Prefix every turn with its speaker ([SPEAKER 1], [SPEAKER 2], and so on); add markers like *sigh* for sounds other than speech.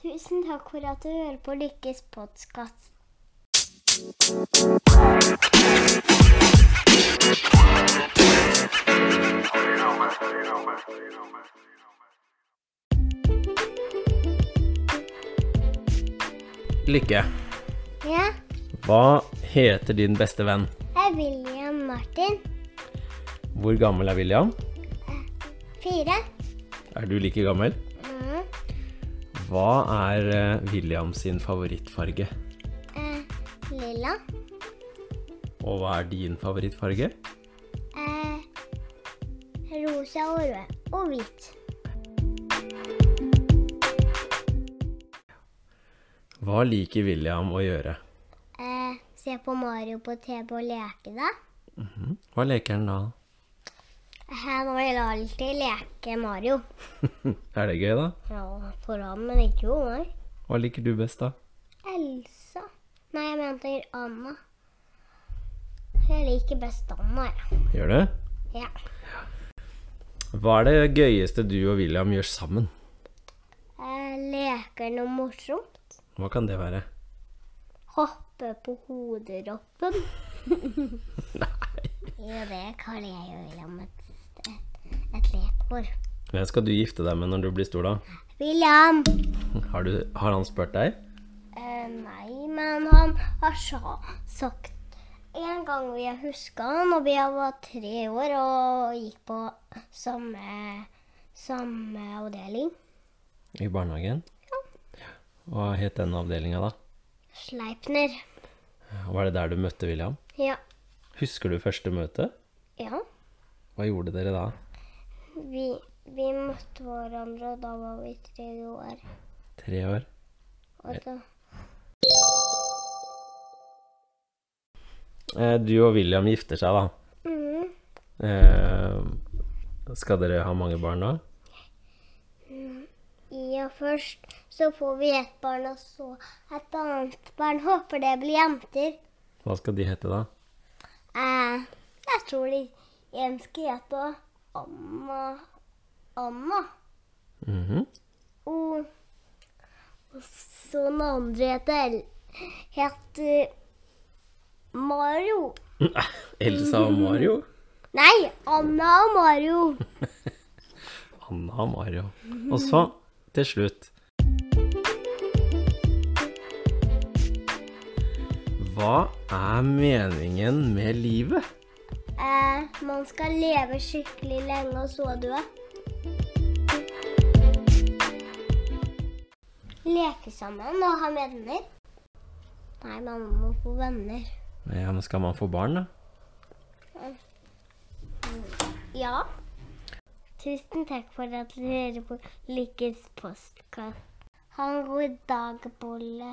[SPEAKER 1] Tusen takk for at du hører på Lykkes podkast.
[SPEAKER 2] Lykke,
[SPEAKER 1] Ja,
[SPEAKER 2] hva heter din beste venn?
[SPEAKER 1] jeg er William Martin.
[SPEAKER 2] Hvor gammel er William?
[SPEAKER 1] Fire.
[SPEAKER 2] Er du like gammel?
[SPEAKER 1] Mm.
[SPEAKER 2] Hva er eh, William sin favorittfarge?
[SPEAKER 1] Eh, lilla.
[SPEAKER 2] Og hva er din favorittfarge?
[SPEAKER 1] Eh, rosa og rød. Og hvit.
[SPEAKER 2] Hva liker William å gjøre?
[SPEAKER 1] Eh, se på Mario på TV og leke, da.
[SPEAKER 2] Hm? Hva leker han da?
[SPEAKER 1] Han vil alltid leke Mario.
[SPEAKER 2] *laughs* Er det gøy, da?
[SPEAKER 1] Ja, for ham, men ikke for meg.
[SPEAKER 2] Hva liker du best, da?
[SPEAKER 1] Elsa. Nei, jeg mente Anna. Jeg liker best Anna, jeg.
[SPEAKER 2] Gjør det?
[SPEAKER 1] Ja.
[SPEAKER 2] Hva er det gøyeste du og William gjør sammen?
[SPEAKER 1] Jeg Eh, leker noe morsomt.
[SPEAKER 2] Hva kan det være?
[SPEAKER 1] Hoppe på hoderoppen. Nei. Jo, det kaller jeg jo William et, et, et lekord.
[SPEAKER 2] Hvem skal du gifte deg med når du blir stor, da?
[SPEAKER 1] William!
[SPEAKER 2] Har, du, har han spurt deg?
[SPEAKER 1] Eh, nei, men han har sa, sagt En gang vi huska han, og vi var tre år og gikk på samme, samme avdeling.
[SPEAKER 2] I barnehagen? Hva het den avdelinga, da?
[SPEAKER 1] Sleipner.
[SPEAKER 2] Var det der du møtte William?
[SPEAKER 1] Ja.
[SPEAKER 2] Husker du første møte?
[SPEAKER 1] ja.
[SPEAKER 2] Hva gjorde dere da?
[SPEAKER 1] Vi, vi møtte hverandre, og da var vi tre år.
[SPEAKER 2] Tre år.
[SPEAKER 1] Og da,
[SPEAKER 2] Eh, Du og William gifter seg, da.
[SPEAKER 1] mm,
[SPEAKER 2] Eh, skal dere ha mange barn da?
[SPEAKER 1] ja, først så får vi ett barn, og så et annet barn. Håper det blir jenter.
[SPEAKER 2] Hva skal de hete da?
[SPEAKER 1] Eh, jeg tror de en skal hete Anna. Anna.
[SPEAKER 2] Mhm. *laughs*
[SPEAKER 1] Og, og så den andre heter, El- heter Mario.
[SPEAKER 2] Elsa og Mario.
[SPEAKER 1] Nei, Anna og Mario.
[SPEAKER 2] Anna og Mario. Og så, til slutt Hva er meningen med livet?
[SPEAKER 1] Eh, man skal leve skikkelig lenge og så dø. Leke sammen og ha med venner. Nei, man må få venner.
[SPEAKER 2] Ja, men skal man få barn, da?
[SPEAKER 1] Ja. Tusen takk for at du hører på Lykkes postkast. Ha en god dag, Bolle.